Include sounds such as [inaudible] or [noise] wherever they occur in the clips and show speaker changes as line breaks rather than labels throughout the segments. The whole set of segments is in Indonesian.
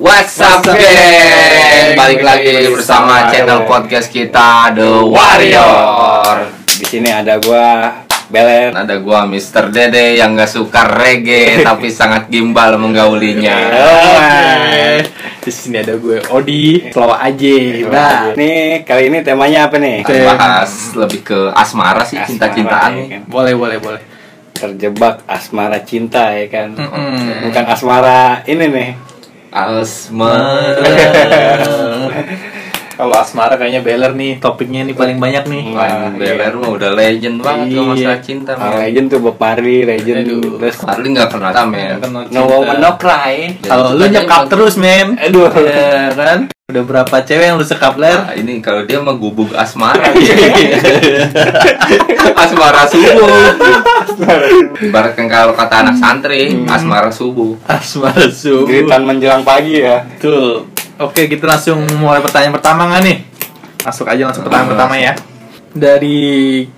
What's up,
What's
geng?
up, geng?
Balik lagi bersama
Sama
channel
geng.
podcast kita The Warrior.
Di sini ada gua Belen.
Ada gua Mr. Dede yang gak suka reggae tapi sangat gimbal menggaulinya.
Oke.
Di sini ada gue Odi.
Slow aja. Nah,
aja.
nih kali ini temanya apa nih?
Kita bahas lebih ke asmara sih
Asmara,
cinta-cintaan.
ya kan?
Boleh, boleh,
[laughs]
boleh.
Terjebak asmara cinta ya kan.
Mm-mm.
Bukan asmara ini nih.
[laughs]
Asmara.
Kalau asmara kayaknya Beler nih topiknya nih paling banyak nih.
Iya.
Nah,
Wah, Beler mah udah legend banget tuh
Iya.
masalah cinta.
Ah,
men.
Legend tuh Bob Marley, Legend
Aduh.
terus
Paling gak pernah tamen.
Kenal
No
cinta.
Woman No Cry.
Kalau lu nyekap terus, men.
Aduh.
Ya kan? Udah berapa cewek yang lu sekap, Ler?
Nah, ini kalau dia mah gubuk [laughs] asmara. iya. asmara subuh. Ibaratkan kalau kata anak santri, asmara subuh.
Asmara subuh.
Geritan menjelang pagi ya.
Betul. Oke, kita langsung mulai pertanyaan pertama nggak nih? Masuk aja langsung pertanyaan
Hmm.
pertama ya. Dari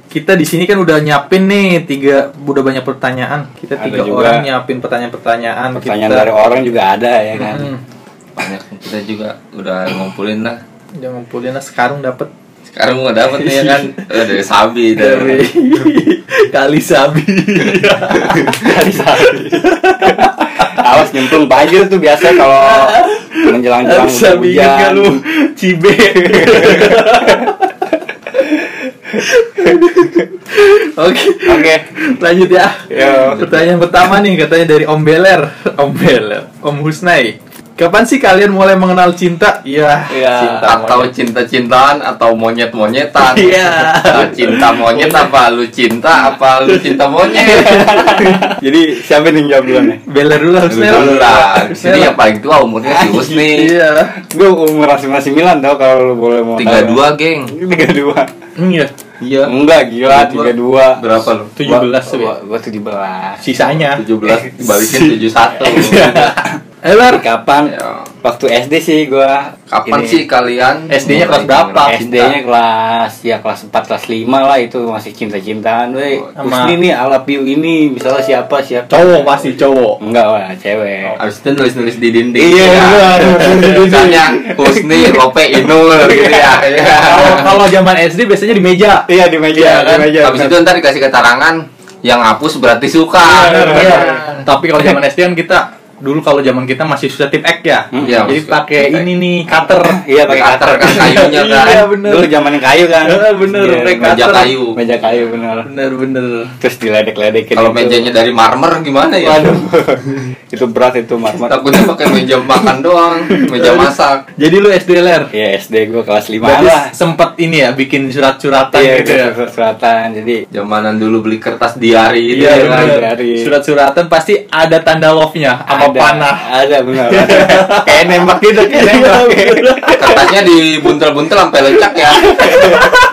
kita di sini kan udah nyiapin nih tiga udah banyak pertanyaan. Kita
Ada
tiga
juga
orang nyiapin pertanyaan-pertanyaan.
Pertanyaan
kita.
dari orang juga ada ya kan.
Hmm,
Banyak kita juga udah ngumpulin lah.
udah ngumpulin lah sekarang dapat
Sekarang gua dapet nih [laughs] ya kan Eh, dari sabi
Iya.
dari
dari [laughs] kali sabi.
Awas nyemplung banjir tuh biasanya
[laughs]
kalau menjelang-jelang
Kali sabi ingat nggak kan lu
[laughs]
cibe. Oke.
Oke.
Lanjut ya.
Yo.
Pertanyaan pertama nih katanya dari Om Beler, Om Beler, Om Husnai. Kapan sih kalian mulai mengenal cinta? Iya,
ya,
Iya.
cinta
atau
monyet.
cinta-cintaan atau monyet-monyetan.
Iya.
Lu cinta monyet apa lu cinta apa lu cinta [laughs] monyet?
Jadi siapa nih yang jawab duluan nih?
Beler dulu
Lu
harusnya.
dulu lah.
Harusnya
Nah, Sini
lah.
yang paling tua umurnya si [laughs] Husni.
Iya.
Gue umur masih masih Milan tau kalau lu boleh mau.
32, geng.
32
Iya. Iya.
32 Enggak gila 32
Berapa lu?
17 tuh ya.
Gue
[laughs]
17
Sisanya.
17
[laughs]
dibalikin
Iya.
71.
Eh, Ler.
Kapan?
Ya.
Waktu SD sih gue
Kapan sih kalian
SD-nya kelas
mulai
berapa?
mengenal cinta?
SD nya kelas ya kelas 4 kelas 5 lah itu masih cinta-cintaan weh.
Sama-
Husni nih I love you ini misalnya siapa siapa
Cowok pasti cowok.
Enggak lah cewek
Abis itu nulis-nulis di dinding gitu ya.
Iya, bener.
Misalnya Husni, Lope, Inul gitu ya Iya.
Kalau kalau zaman SD biasanya di meja.
Iya di
Iya, kan?
meja, di meja.
Abis itu ntar dikasih keterangan Yang hapus berarti suka
Iya. Tapi kalau zaman SD kan kita dulu kalau zaman kita masih susah tip ek ya.
Iya,
Jadi
maksudnya
pakai
tip ek.
ini nih cutter.
Iya pakai
Kater
cutter.
kan kayunya kan
Iya, bener.
Dulu zaman yang kayu kan.
Iya, bener.
Iya,
Mereka-
Meja
Kater.
kayu
Meja kayu bener.
Bener-bener.
Terus diledek-ledekin.
Kalau
gitu.
mejanya dari marmer gimana ya?
Waduh. [laughs] itu berat itu marmer.
Takutnya pakai meja makan doang Meja masak
Jadi lu SD ler.
Ya SD gua kelas 5
Berarti
lah.
sempet ini ya bikin surat-suratan
Iya
gitu
itu
ya.
selatan. Jadi
Zamanan dulu beli kertas diari gitu
Iya,
ya
bener.
kan?
dari-
Surat-suratan pasti ada tanda love-nya sama
ada- [laughs]
panah. Iya,
Ada
[laughs]
benar. ada. Kayak nembak gitu kayak nembak.
Kertasnya dibuntel-buntel sampai lecak ya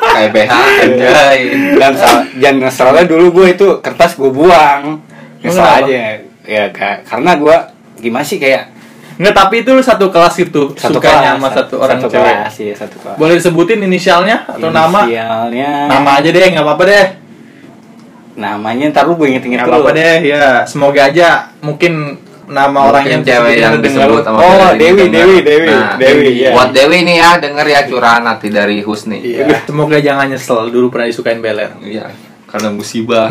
Kayak BH anjay
Dan sal- dan masalahnya dulu gua itu kertas gua buang. Nyesel
Kenapa?
aja. Ya ka- karena gua gimana sih kayak
Nggak, tapi itu lu satu kelas itu sukanya sama satu orang
satu
cewek.
kelas, iya, satu kelas.
Boleh disebutin inisialnya atau nama?
Inisialnya
Nama aja deh, nggak apa-apa deh.
namanya ntar lu gue
Nggak
inget-inget dulu.
apa-apa deh, ya. Semoga aja mungkin nama
Mungkin
orangnya
cewek yang
disebutin lu
disebut
dengar.
sama
Oh,
Ferdinand
Dewi,
dengar.
Dewi, Dewi, Dewi, iya.
Buat Nah, Dewi nih ya, denger ya curahan hati dari Husni.
Iya. Semoga jangan nyesel dulu pernah disukain Beler.
Iya, karena
[laughs]
musibah.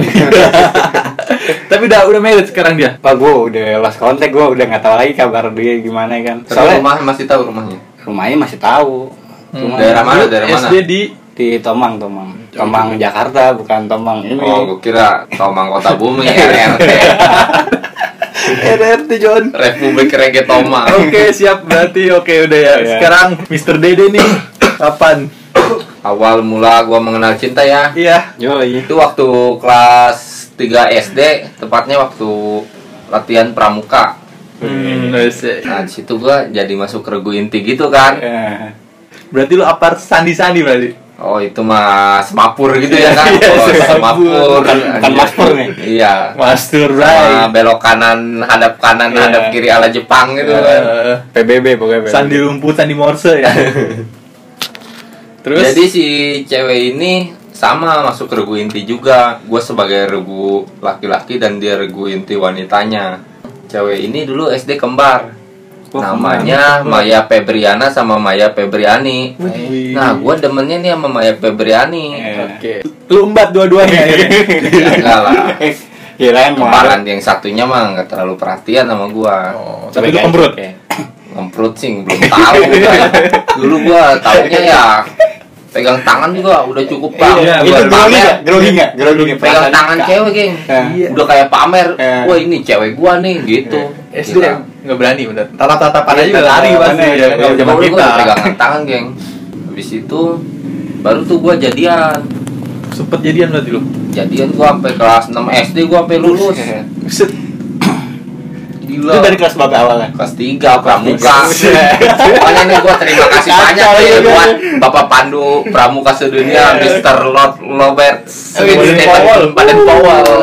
tapi udah udah married sekarang dia.
Pak gue udah lost contact gue udah nggak tahu lagi kabar dia gimana kan.
Soalnya
Soalnya
rumah masih tahu rumahnya.
rumahnya masih tahu.
Hmm,
Cuma
Daerah mana?
Lu
Daerah mana?
SD di
di Tomang, Tomang. Tomang Jakarta bukan Tomang ini.
Oh, gue kira Tomang Kota Bumi ya,
[laughs]
RRT.
RRT John.
Republik Reggae Tomang.
Oke siap berarti oke udah ya.
Iya.
Sekarang Mr. Dede nih kapan?
Awal mula gua mengenal cinta ya.
Iya.
Yo, iya.
Itu waktu kelas 3 SD, tepatnya waktu latihan pramuka.
Hmm,
Nah, di situ gua jadi masuk regu inti gitu kan.
Eh,
berarti lu apa sandi-sandi berarti?
Oh, itu mah semapur gitu ya
[laughs]
kan.
Iya,
Oh,
semapur.
semapur.
Bukan, bukan maspur nih.
Iya.
Master
Sama belok kanan hadap kanan
Iya.
hadap kiri ala Jepang gitu kan.
PBB pokoknya. PBB.
Iya sandi rumput, sandi morse ya. Terus
Jadi si cewek ini sama masuk regu inti juga. Gue sebagai regu laki-laki dan dia regu inti wanitanya. Cewek ini dulu SD kembar.
Oh,
namanya Maya Febriana sama Maya Febriani
Wih.
nah gue demennya nih sama Maya Febriani
Iya.
Oke. Lu embat dua-duanya ya.
enggak
[laughs]
lah
Kirain Iya, mau
Kemarin yang satunya mah nggak terlalu perhatian sama gua
Oh, tapi lu kembrut.
Ngemprut sih belum tahu kan. Dulu gua taunya ya pegang tangan juga udah cukup banget.
Iya,
Itu
Udah
grogi
pamer.
nggak? Grogi nggak? Grogi nggak?
Pegang
Perasaan
tangan
nggak?
cewek, geng.
Iya.
Udah kayak pamer.
Iya.
Wah, ini cewek gua nih gitu.
SD
Gila.
nggak berani bener. Tatap-tatapan aja
Iya,
udah lari pasti
tatapannya,
ya.
iya,
Kalau
Kalau
zaman
dulu gua
kita.
udah pegangan tangan, geng. Habis itu baru tuh gua jadian.
Sempet jadian berarti lu.
Jadian gua sampai kelas 6 SD gua sampai lulus.
Iya. Buset.
Gila.
Itu dari kelas berapa awalan?
kelas 3 pramuka.
Buset.
Pokoknya nih gua terima kasih
Kacau
banyak nih
juga.
buat Bapak Pandu Pramuka Sedunia Mr. Lot Lobert
Baden Iya. Powell.
Baden Powell.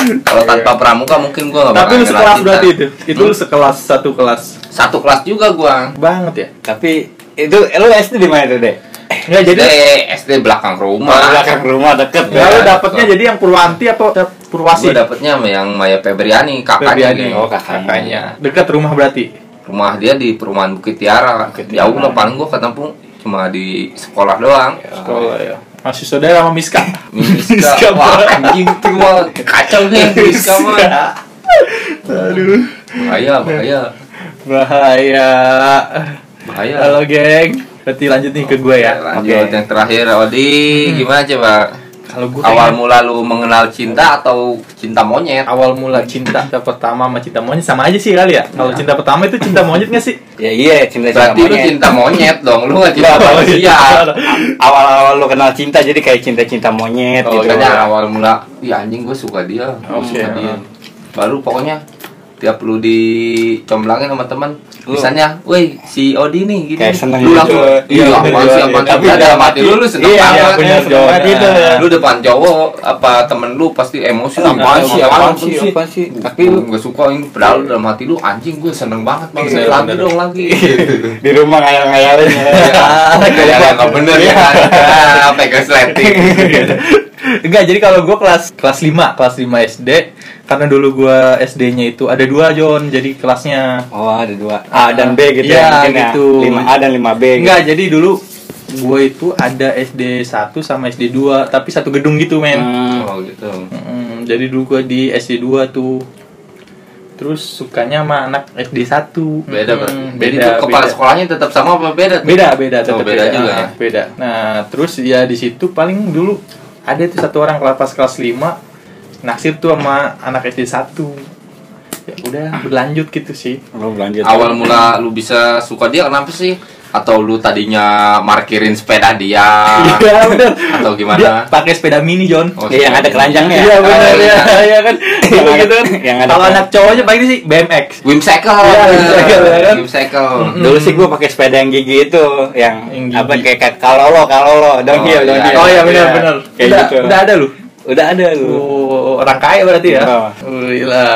Kalau tanpa pramuka mungkin gua nggak
Tapi lu
kenal
sekelas
cinta.
berarti itu. Itu lu
Hmm?
sekelas satu kelas.
Satu kelas juga gua.
Banget ya.
Tapi itu lu SD di mana tuh, Dek?
Enggak
Jadi
Eh, jadi
SD belakang
Di
Oh,
rumah.
belakang rumah deket.
Ya,
Iya.
lu dapetnya jadi yang Purwanti atau Purwasi?
Gua dapetnya sama yang Maya Febriani, kakaknya.
Febriani,
nih.
oh, kakaknya.
Dekat rumah berarti.
Rumah dia di perumahan Bukit Tiara.
Bukit
Jauh
Tiara.
lah paling gua ketemu cuma di sekolah doang.
Sekolah ya. Masih saudara sama Miska.
Miska, wah anjing tuh wah kacau [laughs] nih Miska mah.
Aduh,
Bahaya, bahaya,
bahaya.
bahaya.
Halo geng. Berarti lanjut nih ke gue ya.
Lanjut yang terakhir, Odi, gimana coba?
Kalau gue
Awal mula lu mengenal cinta atau cinta monyet?
awal mula cinta pertama sama cinta monyet sama aja sih kali ya. Kalau
Iya.
cinta pertama itu cinta monyet nggak sih?
Ya iya, cinta-cinta
Berarti lu
monyet.
cinta monyet dong, lu gak
[laughs]
cinta
Oh,
Nggak,
iya.
manusia.
Awal-awal lu kenal cinta jadi kayak cinta-cinta monyet
Oh,
gitu.
kayaknya awal mula, iya anjing gue suka dia, gua
Oke.
suka Oh,
[laughs]
dia. Baru pokoknya tiap lu dicomblangin sama teman misalnya, woi si Odi nih gini,
Kayak seneng
lu
gitu.
langsung,
Iya,
iya, apaan sih,
iya,
apaan
iya.
sih,
Tapi
dalam
dalam
hati lu, lu seneng
Iya,
banget.
iya, bener
Jon.
banget itu.
Nah,
lu depan cowok apa temen lu pasti emosi apaan sih apaan sih
apaan sih?
tapi lu gak suka ini padahal dalam hati lu anjing gue seneng banget bang
Iya,
lagi
bener.
dong lagi
di rumah ngayal-ngayalin [laughs] ya.
kayak yang gak bener ya kan Ah, pegang sleting
Enggak, jadi kalau gue kelas kelas 5, kelas 5 SD karena dulu gue SD-nya itu ada dua Jon, jadi kelasnya
Oh ada dua A dan B gitu
Iya,
ya, mungkin
gitu.
ya lima A dan lima B gitu.
Enggak, jadi dulu gue itu ada SD 1 sama SD 2, tapi satu gedung gitu, men.
Hmm.
oh gitu
Mm, jadi dulu gue di SD 2 tuh. Terus sukanya sama anak SD 1.
beda
Mm,
berarti jadi
beda,
tuh kepala
beda.
sekolahnya tetap sama apa beda tuh?
Beda, beda,
Oh,
tetap
beda juga ya.
Beda. Nah, terus ya di situ paling dulu ada tuh satu orang kelas pas kelas 5 naksir tuh sama anak SD 1. Ya udah
Ah.
berlanjut gitu sih.
Lu lanjut.
awal mula lu bisa suka dia kenapa sih atau lu tadinya markirin sepeda
[laughs]
dia
Iya, bener.
Ah. atau gimana?
Dia pakai sepeda mini, John.
Oh,
Iya, yang ada keranjangnya ya.
Iya benar
Ada
ya,
[laughs]
yang-
iya kan.
Yang
Gitu
ada-
gitu kan.
yang ada-
Kalau anak cowoknya paling sih BMX.
Whimsical,
Iya, whimsical, ya kan?
whimsical.
Dulu sih gua pakai sepeda yang gigi itu, yang
Yang gigi.
apa kayak kayak kalolo kalolo downhill
iya.
downhill.
Oh, iya,
Iya, Kayak
Udah,
gitu.
udah ada lu.
Udah ada lu.
Oh, orang kaya berarti ya.
Iya.
Gila.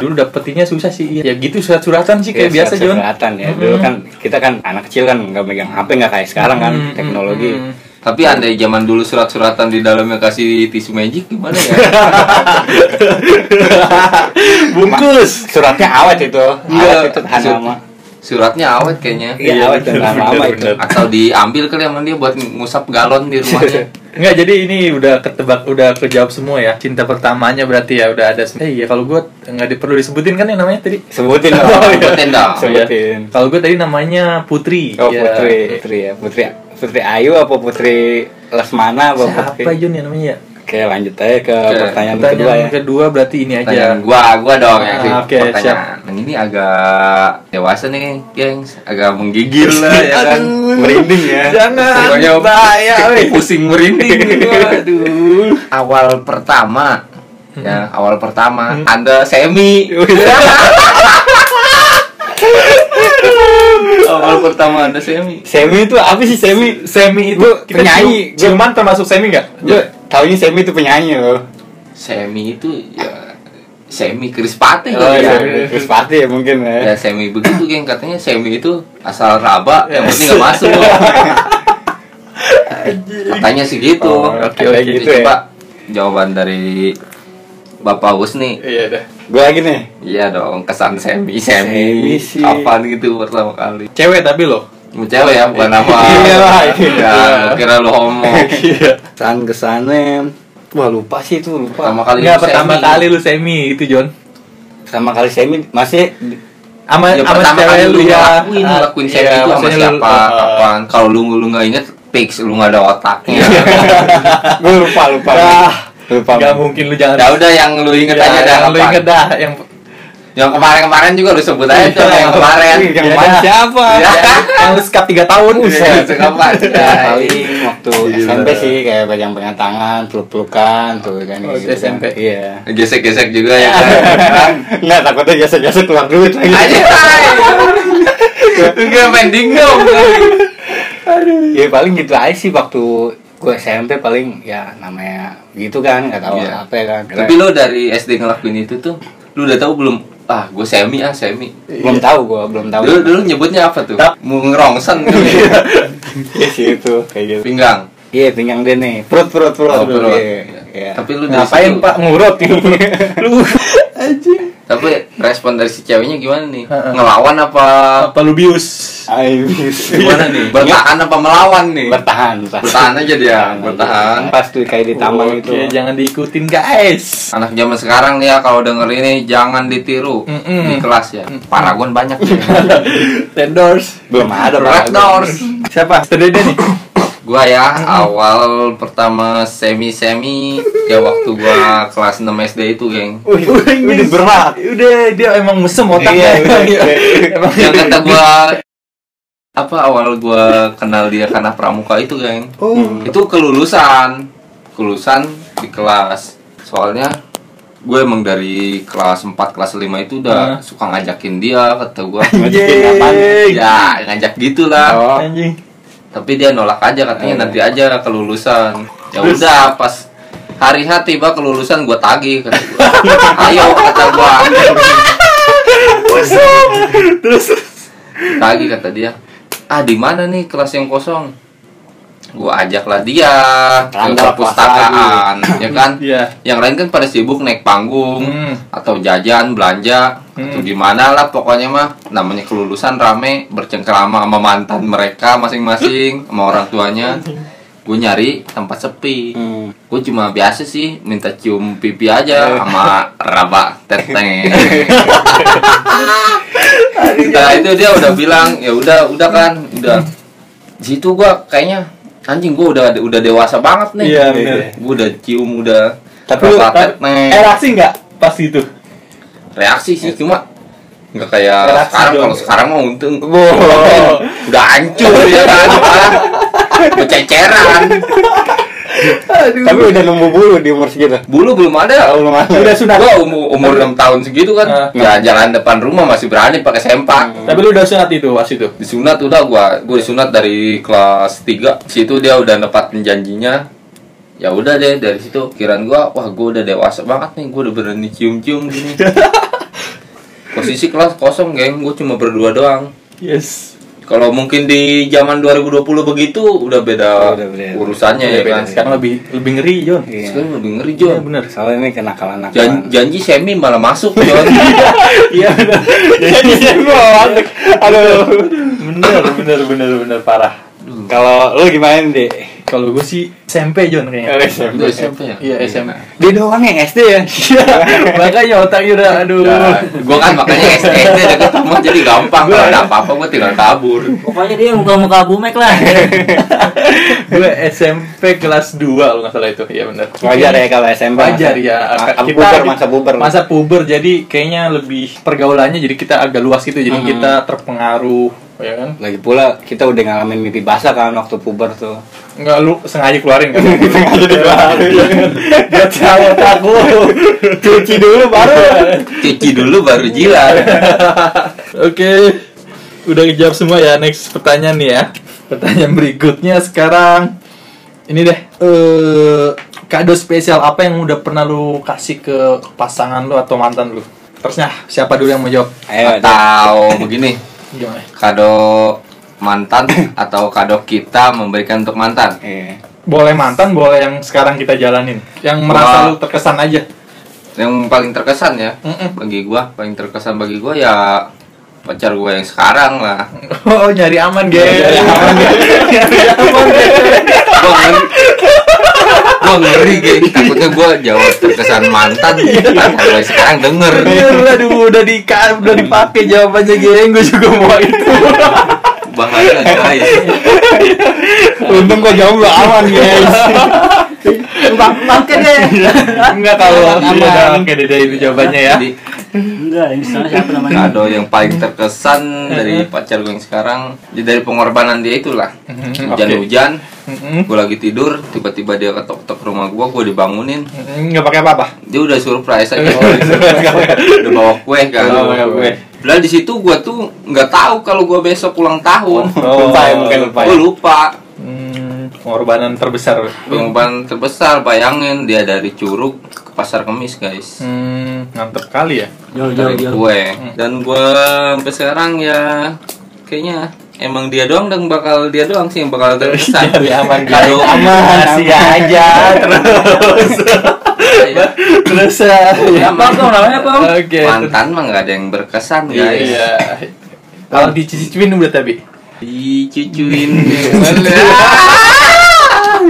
Dulu dapetinnya susah sih. Ya gitu surat-suratan sih
Iya,
kayak biasa, Hmm. John.
surat-suratan ya. Dulu
Mm-mm.
kan kita kan anak kecil kan nggak megang HP nggak kayak sekarang kan
Mm-mm,
teknologi.
mm-mm.
Tapi andai zaman dulu surat-suratan di dalamnya kasih tisu magic gimana ya?
[laughs] hmm. Bungkus.
Suratnya awet itu.
Iya.
Awet itu tahan
Sur-
lama.
Suratnya awet kayaknya.
Iya,
Iya,
awet dan
bener,
tahan lama
bener,
itu.
bener.
Atau diambil kali sama dia buat ngusap galon di rumahnya.
[laughs] Enggak, jadi ini udah ketebak, udah kejawab semua ya. Cinta pertamanya berarti ya udah ada. Eh iya, kalau gua nggak di- perlu disebutin kan ya namanya tadi.
Sebutin dong.
iya.
Oh, Sebutin dong.
Sebutin.
Ya. Kalau gue tadi namanya Putri.
Oh
Ya.
Putri, Putri ya, Putri Putri Ayu apa Putri Lesmana apa
Siapa
Putri?
Jun ya namanya? ya?
Oke lanjut aja ke
Oke,
pertanyaan, kedua
Pertanyaan kedua,
ya.
berarti ini aja.
Pertanyaan gua, gua dong yang
Ah, oke,
pertanyaan. Yang ini agak dewasa nih, gengs. Agak menggigil lah ya kan.
Aduh.
Merinding ya.
Jangan.
Pokoknya [laughs]
bahaya,
[laughs]
weh.
pusing merinding gua, aduh. Awal pertama ya,
Hmm.
awal pertama Anda
[laughs]
semi. awal pertama Anda semi.
Semi itu apa sih Semi?
Semi itu
Gua
kita
penyanyi.
cium- ciuman termasuk semi nggak?
Gue taunya Semi itu penyanyi loh.
Semi itu ya semi krispati
Oh
kali ya.
iya, Chris Pati ya mungkin
ya
Iya.
ya.
semi begitu geng katanya semi itu asal raba
Iya.
yang penting nggak masuk
[laughs]
katanya sih gitu
Oh, oke, oke, gitu
coba
ya.
jawaban dari Bapak Us nih
Iya dah.
Gue lagi nih.
Iya dong, kesan semi semi,
Semi sih.
apaan gitu pertama kali
Cewek tapi loh.
Mau cewek ya, bukan apa
[laughs] Iya lah, iya.
Ya, gua kira lu homo
[laughs]
Iya.
Kesan kesannya. Wah lupa sih itu lupa.
Pertama kali
Enggak
lu
pertama
semi.
kali lu semi itu John.
Pertama kali semi masih
Ama
Ya,
ama
pertama
cewek
kali
lu ya.
ngelakuin, ngelakuin semi
Iya,
itu sama
maksudnya lu-
siapa,
Ah.
kapan Kalau lu lu nggak inget, fix lu nggak ada otaknya
Iya.
gue lupa lupa.
Ah.
lupa.
Gak mungkin lu jangan.
[laughs] Ya udah yang lu inget
Ya,
aja dah
yang Lu
kapan.
inget dah yang
Yang kemarin-kemarin juga lu sebut aja tuh yang kemarin
Ih, Yang
Ya
main
dah.
siapa?
Ya.
yang lu sekap 3 tahun. Iya,
Buset, kapan?
Ya, paling waktu
Gila.
SMP sih kayak pegang-pegang tangan, peluk-pelukan tuh kan
Oh,
gitu kan.
SMP.
Iya.
Gesek-gesek juga ya kan
Iya.
[laughs] Enggak takutnya jasa-jasa keluar duit lagi.
[laughs] Aja Enggak main dingdong
Iya. Ya paling gitu aja sih waktu gue SMP paling ya namanya gitu kan nggak tahu
Iya.
apa ya kan.
Tapi lu dari SD ngelakuin itu tuh Lu udah tahu belum? Ah, gue semi ah, semi
belum tahu gue belum tahu.
Dulu, dulu nyebutnya apa tuh?
Tap.
Mau ngerongsen
[laughs]
kali ya?
[laughs] Iya sih itu kayak gitu.
Pinggang
Iya pinggang dia nih perut perut perut.
Oh, perut.
Iya. Iya.
Tapi lu dari
Ngapain
situ-
Pak ngurut
[laughs]
Lu anjing.
Tapi respon dari si ceweknya gimana nih?
Heeh.
Ngelawan apa?
Apa lu bius? Iya.
Abis.
Gimana nih? Bertahan apa melawan nih?
bertahan bertahan.
Bertahan aja dia, bertahan
Pas tuh kayak gitu. di taman
Oke,
itu.
jangan diikutin guys.
Anak zaman sekarang nih ya kalau denger ini jangan ditiru
Mm-mm.
di kelas ya. Paragon banyak ya.
[laughs] Red doors.
Belum ada
Red
Pak.
doors.
Siapa? Stedede nih.
Gua ya awal pertama semi-semi ya waktu gua kelas 6 SD itu, geng.
Wih, udah berat.
Udah dia emang mesem
Iya,
otaknya.
udah, udah.
[laughs] Emang
Yang kata gua apa awal gua kenal dia karena pramuka itu, geng.
Oh.
Hmm.
itu kelulusan kelulusan di kelas soalnya gue emang dari kelas 4 kelas 5 itu udah
Hah?
suka ngajakin dia kata gue
Ngajakin apaan? Iya.
Anjing.
ya ngajak gitulah
Oh.
Anjing.
tapi dia nolak aja katanya nanti aja kelulusan ya
Terus?
udah pas hari H tiba kelulusan gue tagih kata gua. ayo kata gue
Terus
tagih kata dia ah di mana nih kelas yang kosong gue ajaklah dia ke
Terangkat kelas
perpustakaan ya kan
Iya.
yang lain kan pada sibuk naik panggung
Hmm.
atau jajan belanja
Hmm.
atau gimana lah pokoknya mah namanya kelulusan rame bercengkrama sama mantan mereka
[laughs]
masing-masing sama orang tuanya gue nyari tempat sepi
Hmm.
gue cuma biasa sih minta cium pipi aja
Eh.
sama raba
[laughs]
teteng nah itu dia udah bilang ya udah udah kan udah di situ gue kayaknya anjing gue udah udah dewasa banget nih
Iya, bener.
gue udah cium udah
Tapi lu
raba
tapi-
teteng.
eh reaksi nggak pas itu?
reaksi sih cuma nggak kayak
Reaksi
sekarang
dong.
kalau sekarang mah untung
Oh.
udah
[laughs]
hancur ya kan malah bececeran
Tapi udah nemu bulu di umur segitu.
bulu belum ada
Oh,
Belum ada.
Udah sunat.
gua umur umur enam tahun segitu
Ah.
kan
Hmm.
ya jalan depan rumah masih berani pakai sempak
Tapi lu udah sunat itu pas itu.
disunat udah gua gua disunat dari kelas 3 situ dia udah nepatin janjinya ya udah deh dari situ kiraan gua wah gua udah dewasa banget nih gua udah berani cium-cium
[laughs]
gini posisi kelas kosong geng gua cuma berdua doang
Yes.
Kalau mungkin di zaman 2020 begitu udah beda
Udah beda.
urusannya
Udah
ya
beda
kan. Sekarang,
Iya, Sekarang lebih lebih ngeri John.
Iya.
lebih ngeri
Iya
Jon.
bener.
Soalnya ini kenakalan
Jan-
nakalan.
janji semi malah masuk Jon.
Iya bener.
Jadi masuk. iya, Aduh.
bener bener bener bener parah.
Kalau lu gimana deh?
Kalau gue sih SMP John
[laughs]
kayaknya.
Itu SMP ya?
Iya SMP.
Dia doang yang SD ya.
Makanya otaknya udah aduh.
Iya.
Ya, gua kan makanya SD deket rumah jadi gampang kalau ada apa-apa gua tinggal kabur.
Pokoknya dia muka-muka bumek lah.
gue SMP kelas 2 kalau nggak salah itu iya bener
Wajar ya kalau SMP.
wajar ya kita
Masa puber masa puber.
masa puber jadi kayaknya lebih pergaulannya jadi kita agak luas gitu
Hmm.
jadi kita terpengaruh ya kan
Lagi pula kita udah ngalamin mimpi basah kan waktu puber tuh.
nggak lu sengaja keluarin kan
[laughs] Sengaja
[laughs]
dikeluarin.
buat tahu aku
Cuci dulu baru.
Cuci dulu baru jilat.
oke udah dijawab semua ya next pertanyaan nih ya pertanyaan berikutnya sekarang ini deh eh kado spesial apa yang udah pernah lu kasih ke pasangan lu atau mantan lu terusnya siapa dulu yang mau jawab
Ayo. Dek.
Atau begini,
gimana
kado mantan atau kado kita memberikan untuk mantan.
Iya.
Boleh mantan, boleh yang sekarang kita jalanin. Yang merasa
Wah.
lu terkesan aja.
yang paling terkesan ya
Mm-mm.
bagi gua paling terkesan bagi gua ya pacar gua yang sekarang lah
Oh nyari aman guys.
Nyari aman, gua ngeri gua ngeri Ge. takutnya gua jawab terkesan mantan pacar gua yang sekarang denger
Aduh, aduh, udah di udah dipakai jawabannya geng, gue juga mau itu. [laughs]
bahaya guys
Untung kok jauh lo aman
[laughs]
guys.
Pakai deh.
Iya. Enggak kalau
Aman.
iya, udah oke deh, deh, itu jawabannya ya.
jadi
Enggak, ini salah siapa namanya?
kado yang paling terkesan dari pacar gue yang sekarang ya dari pengorbanan dia itulah hujan-hujan
Mm-mm.
gue lagi tidur tiba-tiba dia ketok-ketok rumah gue gue dibangunin
Mm-mm, Nggak pakai apa-apa.
dia udah surprise
[laughs]
aja udah bawa kue kan
Udah bawa kue.
Lah di situ gue tuh nggak tahu kalau gue besok ulang
Oh,
tahun
Lupa ya, mungkin lupa ya.
gue lupa
Hmm, pengorbanan terbesar.
pengorbanan terbesar bayangin dia dari curug ke pasar kemis guys
Hmm, mantep kali ya.
Jauh, jauh,
dari
jauh.
kue
Hmm.
dan gue sampai sekarang ya kayaknya emang dia doang dan bakal dia doang sih yang bakal terkesan
[laughs] Nyari Oh, aman
kado
guys.
Masih
[laughs]
aja terus.
ya.
Terus ya.
Apa kok namanya, Pak?
Oke.
mantan mah nggak ada yang berkesan guys
Iya. [laughs] Kalau dicicipin udah tapi. [laughs]
dicucuin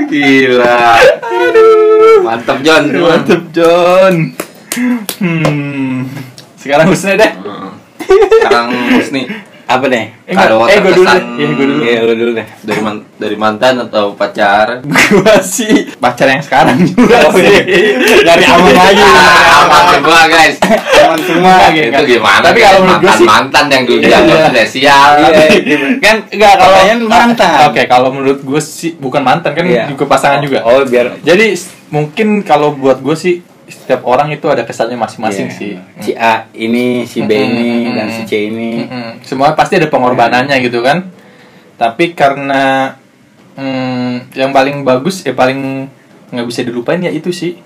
gila mantap John
Mantep John. Hmm. Sekarang Husna deh.
sekarang Husni
Apa nih?
Eh, enggak.
Kado
eh gue dulu deh.
terkesan.
Iya, gue dulu. [laughs]
Iya lu dulu deh.
dari man- dari mantan atau pacar
Gue sih pacar yang
[laughs]
sekarang juga
Oh,
sih.
iya. Dari aman lagi.
Ah, mantap gua
[laughs]
guys
Aman semua gitu.
itu gimana
Iya. Tapi kalau menurut gua
mantan
sih-
mantan yang dulu
Iya.
dianggap spesial
Iya, gitu. Kan enggak kalau mantan.
Ah, Oke, kalau menurut gue sih bukan mantan kan
Iya.
juga pasangan juga.
Oh, biar
Jadi s- mungkin kalau buat gue sih setiap orang itu ada kesannya masing-masing
Iya.
sih.
Si A ini, si B ini,
Mm-mm,
dan si C ini.
Mm-mm. Semua pasti ada pengorbanannya gitu kan. Tapi karena mm, yang paling bagus ya paling nggak bisa dilupain ya itu sih.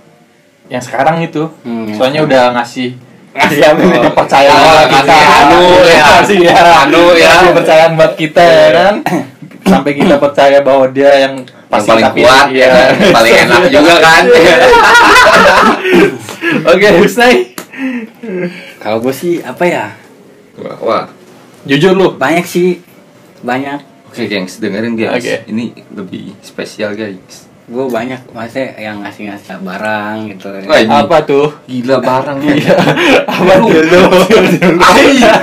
Yang sekarang itu.
Hmm, yang
Soalnya udah ngasih [laughs]
Ngasih apa nih?
Oh, percaya
Oh,
sama kita
ngasih anu ya.
Ngasih ya
Anu ya.
Ngasih percayaan buat kita ya kan sampai kita percaya bahwa dia yang
yang
pasti
paling
tapi-
kuat [laughs]
iya.
yang paling
[laughs]
enak juga kan
oke Husnai
Kalau gue sih apa ya?
Wah, wah
jujur lu
Banyak sih. Banyak.
oke gengs dengerin guys
Oke.
ini lebih spesial guys
Gue banyak maksudnya yang ngasih-ngasih barang gitu.
Wah, ini
apa tuh Iya.
gila barang
[laughs] apa tuh [laughs] Iya.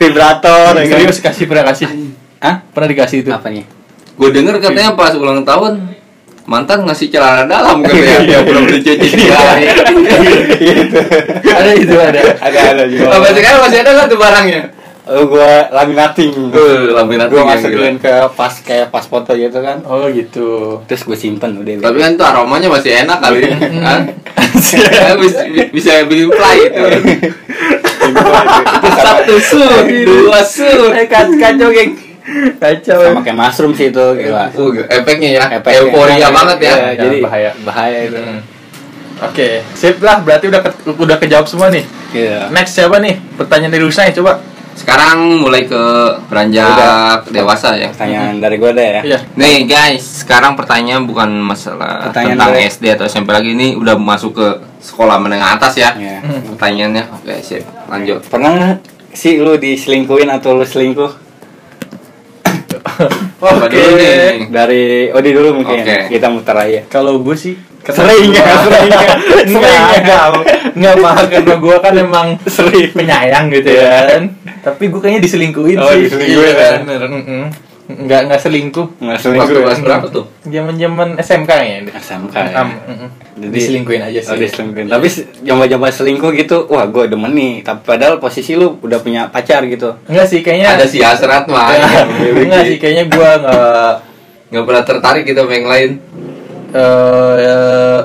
Vibrator. ya kan?
serius kasih pernah kasih
Hah?
pernah dikasih itu
Apa nih?
Gue denger katanya pas ulang tahun mantan ngasih celana dalam
Iya,
katanya yang belum dicuci tiga hari.
ada itu ada
Gitu. Ada ada Oh,
Sampai sekarang masih ada nggak tuh barangnya?
Lalu gue laminating.
Eh, laminating
Gue
yang
masukin ke pas kayak pas foto gitu kan.
oh gitu
Terus gue simpen udah.
Tapi kan tuh aromanya masih enak kali. ya. Hah? Saya bisa, bisa bikin fly gitu. itu. Satu su, dua su.
[laughs] eh, kacau geng kacau eh.
sama kayak mushroom sih itu gila.
Uh, efeknya ya,
Efeknya.
euforia banget ya.
Iya,
Ya,
jadi
bahaya.
bahaya bahaya itu.
Hmm. Oke, sip lah. Berarti udah ke- udah kejawab semua nih.
Iya.
Next siapa nih? Pertanyaan dari Usai coba.
Sekarang mulai ke beranjak dewasa ya.
Pertanyaan dari gue deh ya.
Iya.
Nih guys, sekarang pertanyaan bukan masalah
Pertanyaan
tentang
dari-
SD atau SMP lagi ini udah masuk ke sekolah menengah atas ya.
Iya.
Pertanyaannya oke sip, lanjut.
Pernah nggak sih lu diselingkuhin atau lu selingkuh?
Coba dulu nih.
Dari Odi dulu mungkin.
Oke.
Kita muter aja.
Kalau gue sih
Sering ya, sering ya, sering
Enggak,
ya.
enggak, enggak paham karena gue kan emang sering penyayang gitu ya kan. Tapi gue kayaknya diselingkuhin
Oh,
sih.
diselingkuhin
Iya,
ya.
bener. Mm-mm. Enggak, enggak selingkuh.
Nggak
Waktu
selingkuh. ya?
kelas berapa tuh?
Zaman-zaman SMK ya.
SMK ya.
Um, mm-mm. diselingkuhin aja sih.
Oh, diselingkuhin. Tapi se- coba-coba selingkuh gitu, wah gue demen nih. Tapi padahal posisi lu udah punya pacar gitu.
Enggak sih kayaknya.
Ada si Asrat mah.
Enggak, Iya. Enggak sih kayaknya gue enggak
Nggak pernah tertarik kita sama yang lain.
eh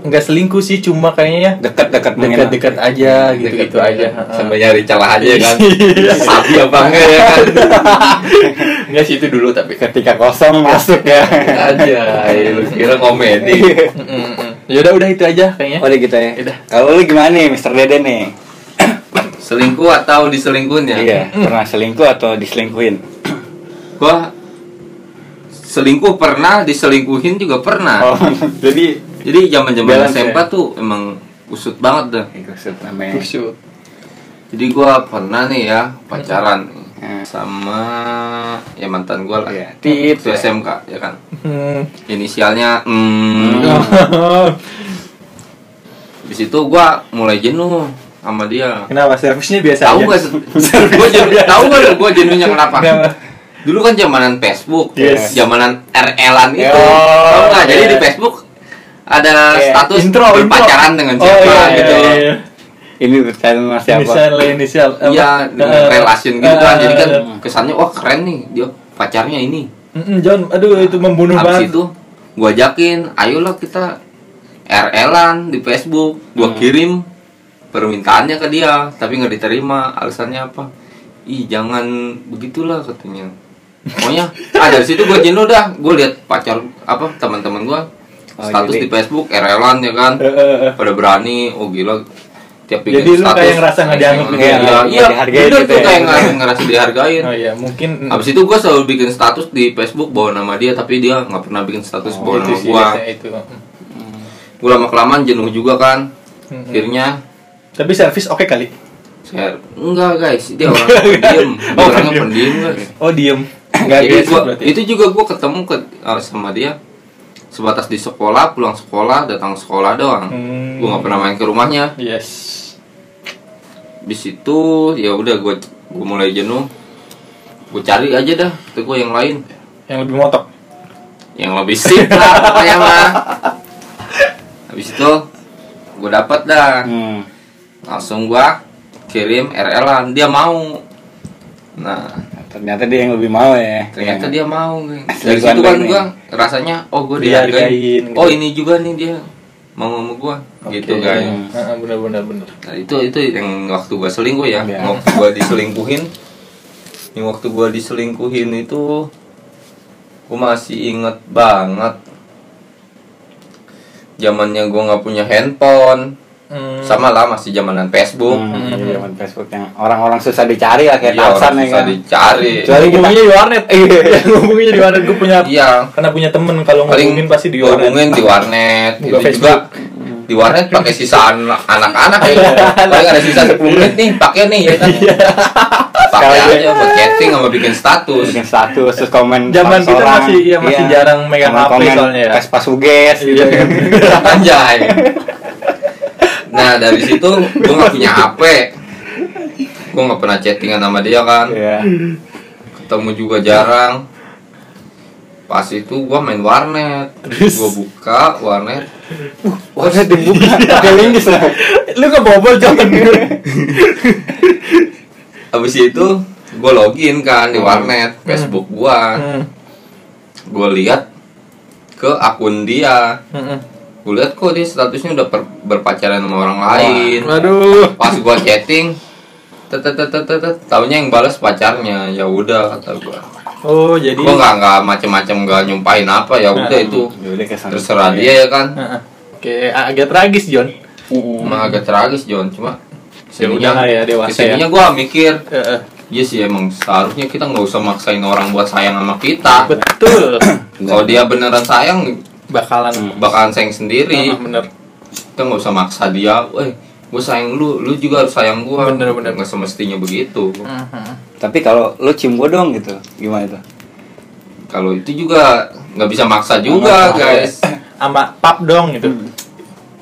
enggak selingkuh sih cuma kayaknya ya
Dekat-dekat mungkin.
dekat-dekat aja gitu
Deket
gitu aja
Iya, Sampai nyari celah aja kan.
[laughs] Iya.
Sabi apa enggak ya kan?
enggak sih itu dulu tapi
Ketika kosong [laughs] masuk
[laughs]
ya.
Aja, Iya, lu kira komedi.
ya udah udah itu aja kayaknya
Udah gitu ya.
Udah.
Kalau lu gimana nih, Mr. Dede nih?
Selingkuh atau diselingkuhin ya?
Iya, pernah selingkuh atau diselingkuhin?
Gua selingkuh pernah, diselingkuhin juga pernah.
Oh, [laughs] jadi
Jadi zaman zaman
Balance
SMP
ya?
tuh emang kusut banget dah
Ikut namanya.
Kusut.
jadi gua pernah nih ya pacaran
Hmm.
sama ya mantan gua lah
Iya, tit,
Waktu
ya.
SMK ya kan
Hmm. [laughs]
inisialnya mm, di situ gua mulai jenuh sama dia
Kenapa servisnya biasa
tahu
aja?
gak gue jenuh tahu gak gue jenuhnya kenapa dulu kan zamanan Facebook
Yes.
zamanan RL-an itu
Oh,
tahu nggak jadi
iya.
di Facebook ada
Iya,
status
intro, intro.
berpacaran dengan
Oh
siapa
iya,
gitu
gitu. iya, iya.
Ini bertanya sama
Inisial
siapa?
lah inisial. Apa?
Iya, dengan
Eh,
relation gitu kan
eh,
jadi kan
eh,
kesannya wah keren nih dia pacarnya ini
Mm-mm, John, aduh itu membunuh
habis
banget.
itu gue ajakin ayolah kita RL-an di Facebook gue
Hmm.
kirim permintaannya ke dia tapi nggak diterima alasannya apa ih jangan begitulah katanya pokoknya [laughs] ah dari situ gue jenuh dah gue lihat pacar apa teman-teman gue
Oh,
status
jadi-
di Facebook RL-an ya kan
Eh, eh, eh.
pada berani oh gila tiap bikin
Jadi lu kayak ngerasa nggak dianggap
iya,
gitu ya,
iya,
nggak
iya
dihargain
bener
gitu
tuh
ya.
kayak nggak- ngerasa dihargain
Oh iya, mungkin
Abis itu gue selalu bikin status di Facebook bawa nama dia tapi dia nggak pernah bikin status
Oh,
bawa
itu
nama
sih
gue.
biasanya itu.
Gue lama kelamaan jenuh juga kan.
Mm-mm.
Akhirnya
Tapi servis oke kali.
share enggak guys dia
[laughs]
orang pendiam, dia
Oh,
orangnya
pendiam.
pendiam guys.
Oh,
[coughs]
diem. Nggak
Jadi
gitu
gua,
berarti.
itu juga gue ketemu ke eh, sama dia sebatas di sekolah pulang sekolah datang sekolah doang.
Hmm.
Gue nggak pernah main ke rumahnya.
Yes.
di situ ya udah gue gue mulai jenuh. Gue cari aja dah itu gue yang lain
Yang lebih motok.
yang lebih sip lah pokoknya mah habis itu gue dapat dah
Hmm.
langsung gua kirim RL-an dia mau nah
Ternyata dia yang lebih mau ya.
ternyata dia mau geng. dari
Selingkuhan
situ kan
ini.
gua rasanya oh gua dihargain
ya? Dihargain, gitu.
oh ini juga nih dia mau sama gua gitu
Oke.
kan
Heeh, benar benar benar.
nah, itu itu yang waktu gua selingkuh ya
Iya.
waktu gua diselingkuhin yang waktu gua diselingkuhin itu gua masih inget banget zamannya gua nggak punya handphone
Hmm.
sama lah masih zamanan Facebook
Hmm, jadi zaman Facebook yang orang-orang susah dicari lah
Iya,
kayak
orang
Tarzan ya
susah
kan.
dicari
Kecuali
Yang
kita
hubunginya di
[laughs]
warnet. [laughs] Yang hubunginya di warnet gue punya
iya
karena punya temen kalau
paling
ngomongin pasti di warnet.
dihubungin di warnet
Buka
itu juga
Facebook.
di warnet pakai sisaan anak-anak ya paling ada sisa 10 menit nih pakai nih ya kan
Iya.
pakai
Sekali.
aja buat chatting sama bikin status
bikin status terus komen
Zaman
status
kita
orang.
masih- iya, masih jarang megang HP
Komen-komen,
soalnya ya.
Pas pas uges gitu
Iya.
kan.
[laughs] anjay nah dari situ gue nggak punya HP gue nggak pernah chattingan sama dia kan
Iya.
ketemu juga jarang pas itu gua main warnet gua buka warnet
Udah dibuka pakai linggis lah.
Lu kebobol
[laughs]
jangan.
Habis itu gue login kan di warnet Facebook gua.
Hmm.
Gue lihat ke akun dia.
Heeh.
Gue lihat kok dia statusnya udah per- berpacaran sama orang lain.
Waduh.
Pas gua chatting tet tet tet, tet tet, taunya yang balas pacarnya. Ya udah kata gua.
Oh, jadi Hmm.
Gua nggak nggak macem-macem nggak nyumpain apa ya udah itu.
Yaudah, kesan.
Terserah
Iya.
dia ya kan.
Heeh. Oke, agak tragis, John.
Emang agak tragis John cuma
udah lah Hmm. ya, dewasa ya.
kesininya gua mikir
Heeh.
Iya sih emang seharusnya kita nggak usah maksain orang buat sayang sama kita.
[coughs] Betul.
Kalau dia beneran sayang
Bakalan
bakalan sayang sendiri.
Heeh, bener.
Kita nggak usah maksa dia. Weh, gue sayang lu, lu juga harus sayang gue.
Bener, bener.
Nggak semestinya begitu.
Heeh.
Tapi kalau lu cium gua dong gitu. Gimana tuh?
Kalau itu juga nggak bisa maksa juga, guys.
Sama pap dong gitu.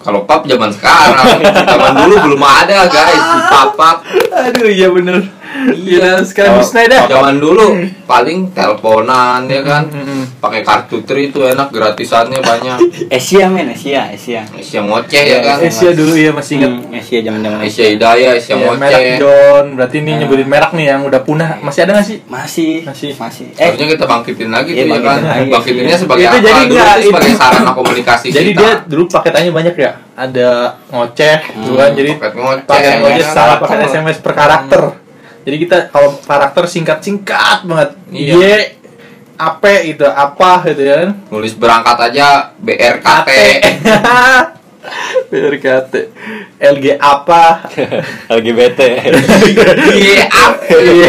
Kalau pap zaman sekarang, zaman dulu belum ada, guys.
Ah.
Pap pap.
[laughs] Aduh, iya bener. Iya, sekarang
Kalau
Husnai dah.
Zaman dulu paling teleponan ya kan.
Mm-mm.
Pakai kartu tri itu enak gratisannya banyak.
[laughs]
Asia men, Asia, Asia.
Yang ngoceh ya kan.
Asia dulu ya masih ingat.
Hmm, Asia
iya.
zaman-zaman Asia.
Aisyah Hidayah, Aisyah
Ya,
Moce.
merek John, berarti ini
Nah.
nyebutin merek nih yang udah punah. Masih ada nggak sih?
Masih,
Masih.
masih.
Harusnya kita bangkitin lagi
Eh, Iya,
tuh ya kan.
bangkitin lagi.
Bangkitinnya sebagai
Itu
apa?
jadi
Dulu
nggak,
itu
itu-
sebagai sarana komunikasi
Jadi
kita.
dia dulu paketannya banyak ya? Ada ngoceh, gitu kan? Jadi
paket ngoceh,
paket
SMS,
ngoceh Iya, salah Hmm.
apa
paket
lah.
SMS per karakter. Jadi kita kalau karakter singkat-singkat banget.
Iya.
Iya. apa gitu, apa gitu ya kan?
nulis berangkat aja BRKT.
[laughs] BRKT. LG apa?
[laughs] LGBT.
[laughs] Iya, apa?
Iya.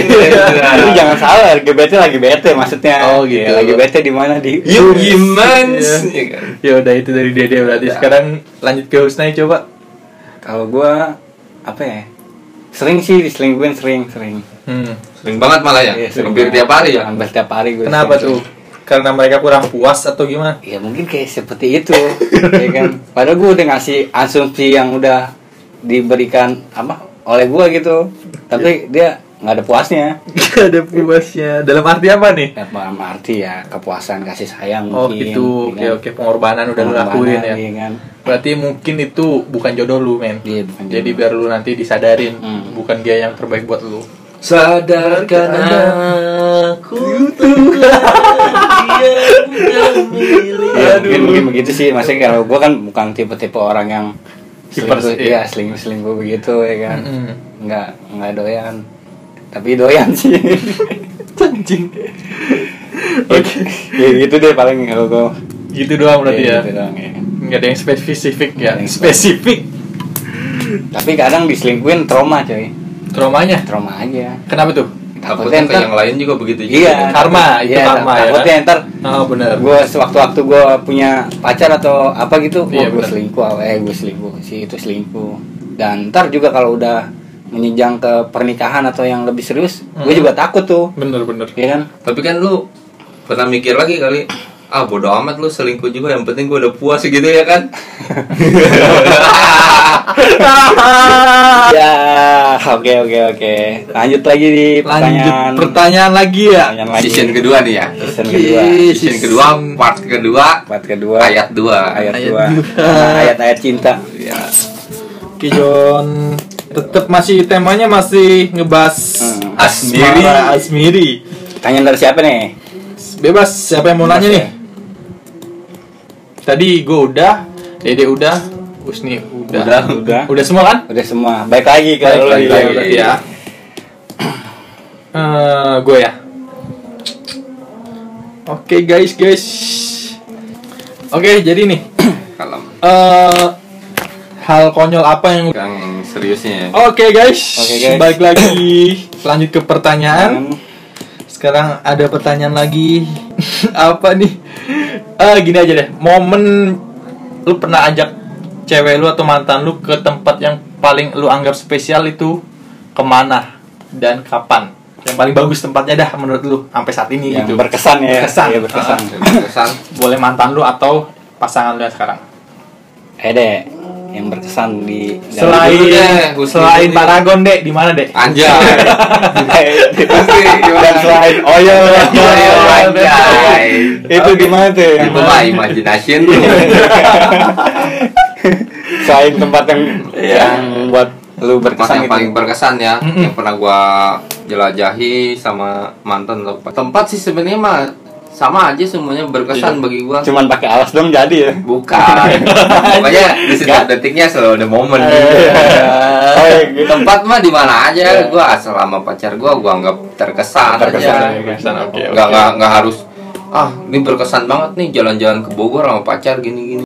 Lu jangan salah, LGBT lagi bete maksudnya.
Oh, gitu.
Ya, lagi bete di mana di?
You gimans. Iya
kan?
kan?
Iya. Ya udah itu dari Dede berarti. Sekarang lanjut ke Husnai coba.
Kalau gua apa ya? Sering sih diselingkuhin sering sering.
Hmm.
Sering banget malah ya.
Iya, sering
Hampir
banget.
tiap hari ya.
Hampir tiap hari gua.
Kenapa tuh?
diselingkuhin.
Karena mereka kurang puas atau gimana?
Ya mungkin kayak seperti itu, ya kan. Padahal gua udah ngasih asumsi yang udah diberikan apa oleh gua gitu.
Ya.
Tapi dia nggak ada puasnya.
Gak ada puasnya. Dalam arti apa nih?
Ya, dalam arti ya kepuasan kasih sayang
Oh
mungkin.
gitu. Oke
ya kan.
oke pengorbanan udah lu lakuin ya.
Pengorbanan, iya kan.
Berarti mungkin itu bukan jodoh lu men.
Iya, bukan jodoh.
Jadi biar lu nanti disadarin
Hmm.
bukan dia yang terbaik buat lu.
Sadarkan aku
Ya, mungkin, mungkin begitu sih maksudnya kalau gua kan bukan tipe-tipe orang yang
Hiper-
selingkuh
iya.
ya selingkuh selingkuh begitu ya kan
Mm-mm.
nggak nggak doyan tapi doyan sih
Anjing. [laughs] Oke.
ya gitu deh paling kalau gua
Gitu doang berarti ya.
Iya, gitu doang, ya.
Nggak ada yang spesifik ya.
Nggak ada yang
Spesifik.
tapi kadang diselingkuhin trauma coy
Traumanya.
trauma aja
Kenapa tuh?
Takutnya kayak yang lain juga begitu
iya
Karma, itu
iya,
karma, ya
takutnya
kan?
ntar
Ah benar.
gue sewaktu-waktu gue punya pacar atau apa gitu
Iya,
gue
benar.
selingkuh eh gue selingkuh si itu selingkuh dan ntar juga kalau udah menjenjang ke pernikahan atau yang lebih serius gue
Mhm.
juga takut tuh
Bener bener.
ya kan
Tapi kan lu pernah mikir lagi kali ah bodo amat lu selingkuh juga yang penting gua udah puas gitu ya kan
ya oke oke oke lanjut lagi di
Lanjut
pertanyaan
pertanyaan lagi ya.
pertanyaan lagi
season kedua nih ya
Season kedua
Oke,
season kedua part kedua
part kedua
ayat dua
ayat
Ayat
dua
dua.
Nah, ayat-ayat cinta
ya
Oke Jon, tetap masih temanya masih ngebahas
Hmm.
Asmiri.
asmara, Asmiri.
pertanyaan dari siapa nih
Bebas siapa yang mau
Bebas
nanya
ya.
nih? Tadi gue udah, Dede udah, Usni udah.
Udah.
Udah.
Udah semua kan?
udah semua baik lagi
Baik
kalau
lagi,
lo
baik lagi.
ya. [clears throat] Eh, gue ya. Oke guys, guys. Oke, jadi nih
kalem
eh hal konyol apa yang
Kang yang seriusnya ya.
Oke guys,
Oke, guys. Hmm.
balik lagi lanjut ke pertanyaan. Sekarang ada pertanyaan lagi [laughs] apa nih? Eh gini aja deh, momen lu pernah ajak cewek lu atau mantan lu ke tempat yang paling lu anggap spesial itu kemana dan kapan? Yang paling bagus tempatnya dah menurut lu sampai saat ini
yang
gitu.
berkesan ya
Berkesan.
Iya, berkesan
kesan
Boleh mantan lu atau pasangan lu yang sekarang.
Eh deh, yang berkesan di
Selain
dulu deh, Gusti
selain
dulu.
Paragon dek, di mana dek?
anjay pasti
dan selain Oh, oil,
iya.
Oil,
anjay
itu gimana tuh? yang
itu mah imagination lu
selain tempat yang yang buat lu
tempat
berkesan
yang
gitu.
paling berkesan ya
Mm-mm.
yang pernah gua jelajahi sama mantan lo tempat sih sebenarnya mah sama aja semuanya berkesan bagi gua
Cuman pakai alas dong jadi ya.
bukan pokoknya di setiap detiknya selalu ada momen gitu.
Eh, Oh, iya, gitu.
tempat mah di mana aja
Iya.
gua asal sama pacar gua gua anggap terkesan,
Terkesan,
aja
iya.
Berkesan, oke,
nggak
oke.
nggak nggak harus ah ini berkesan banget nih jalan-jalan ke Bogor sama pacar gini gini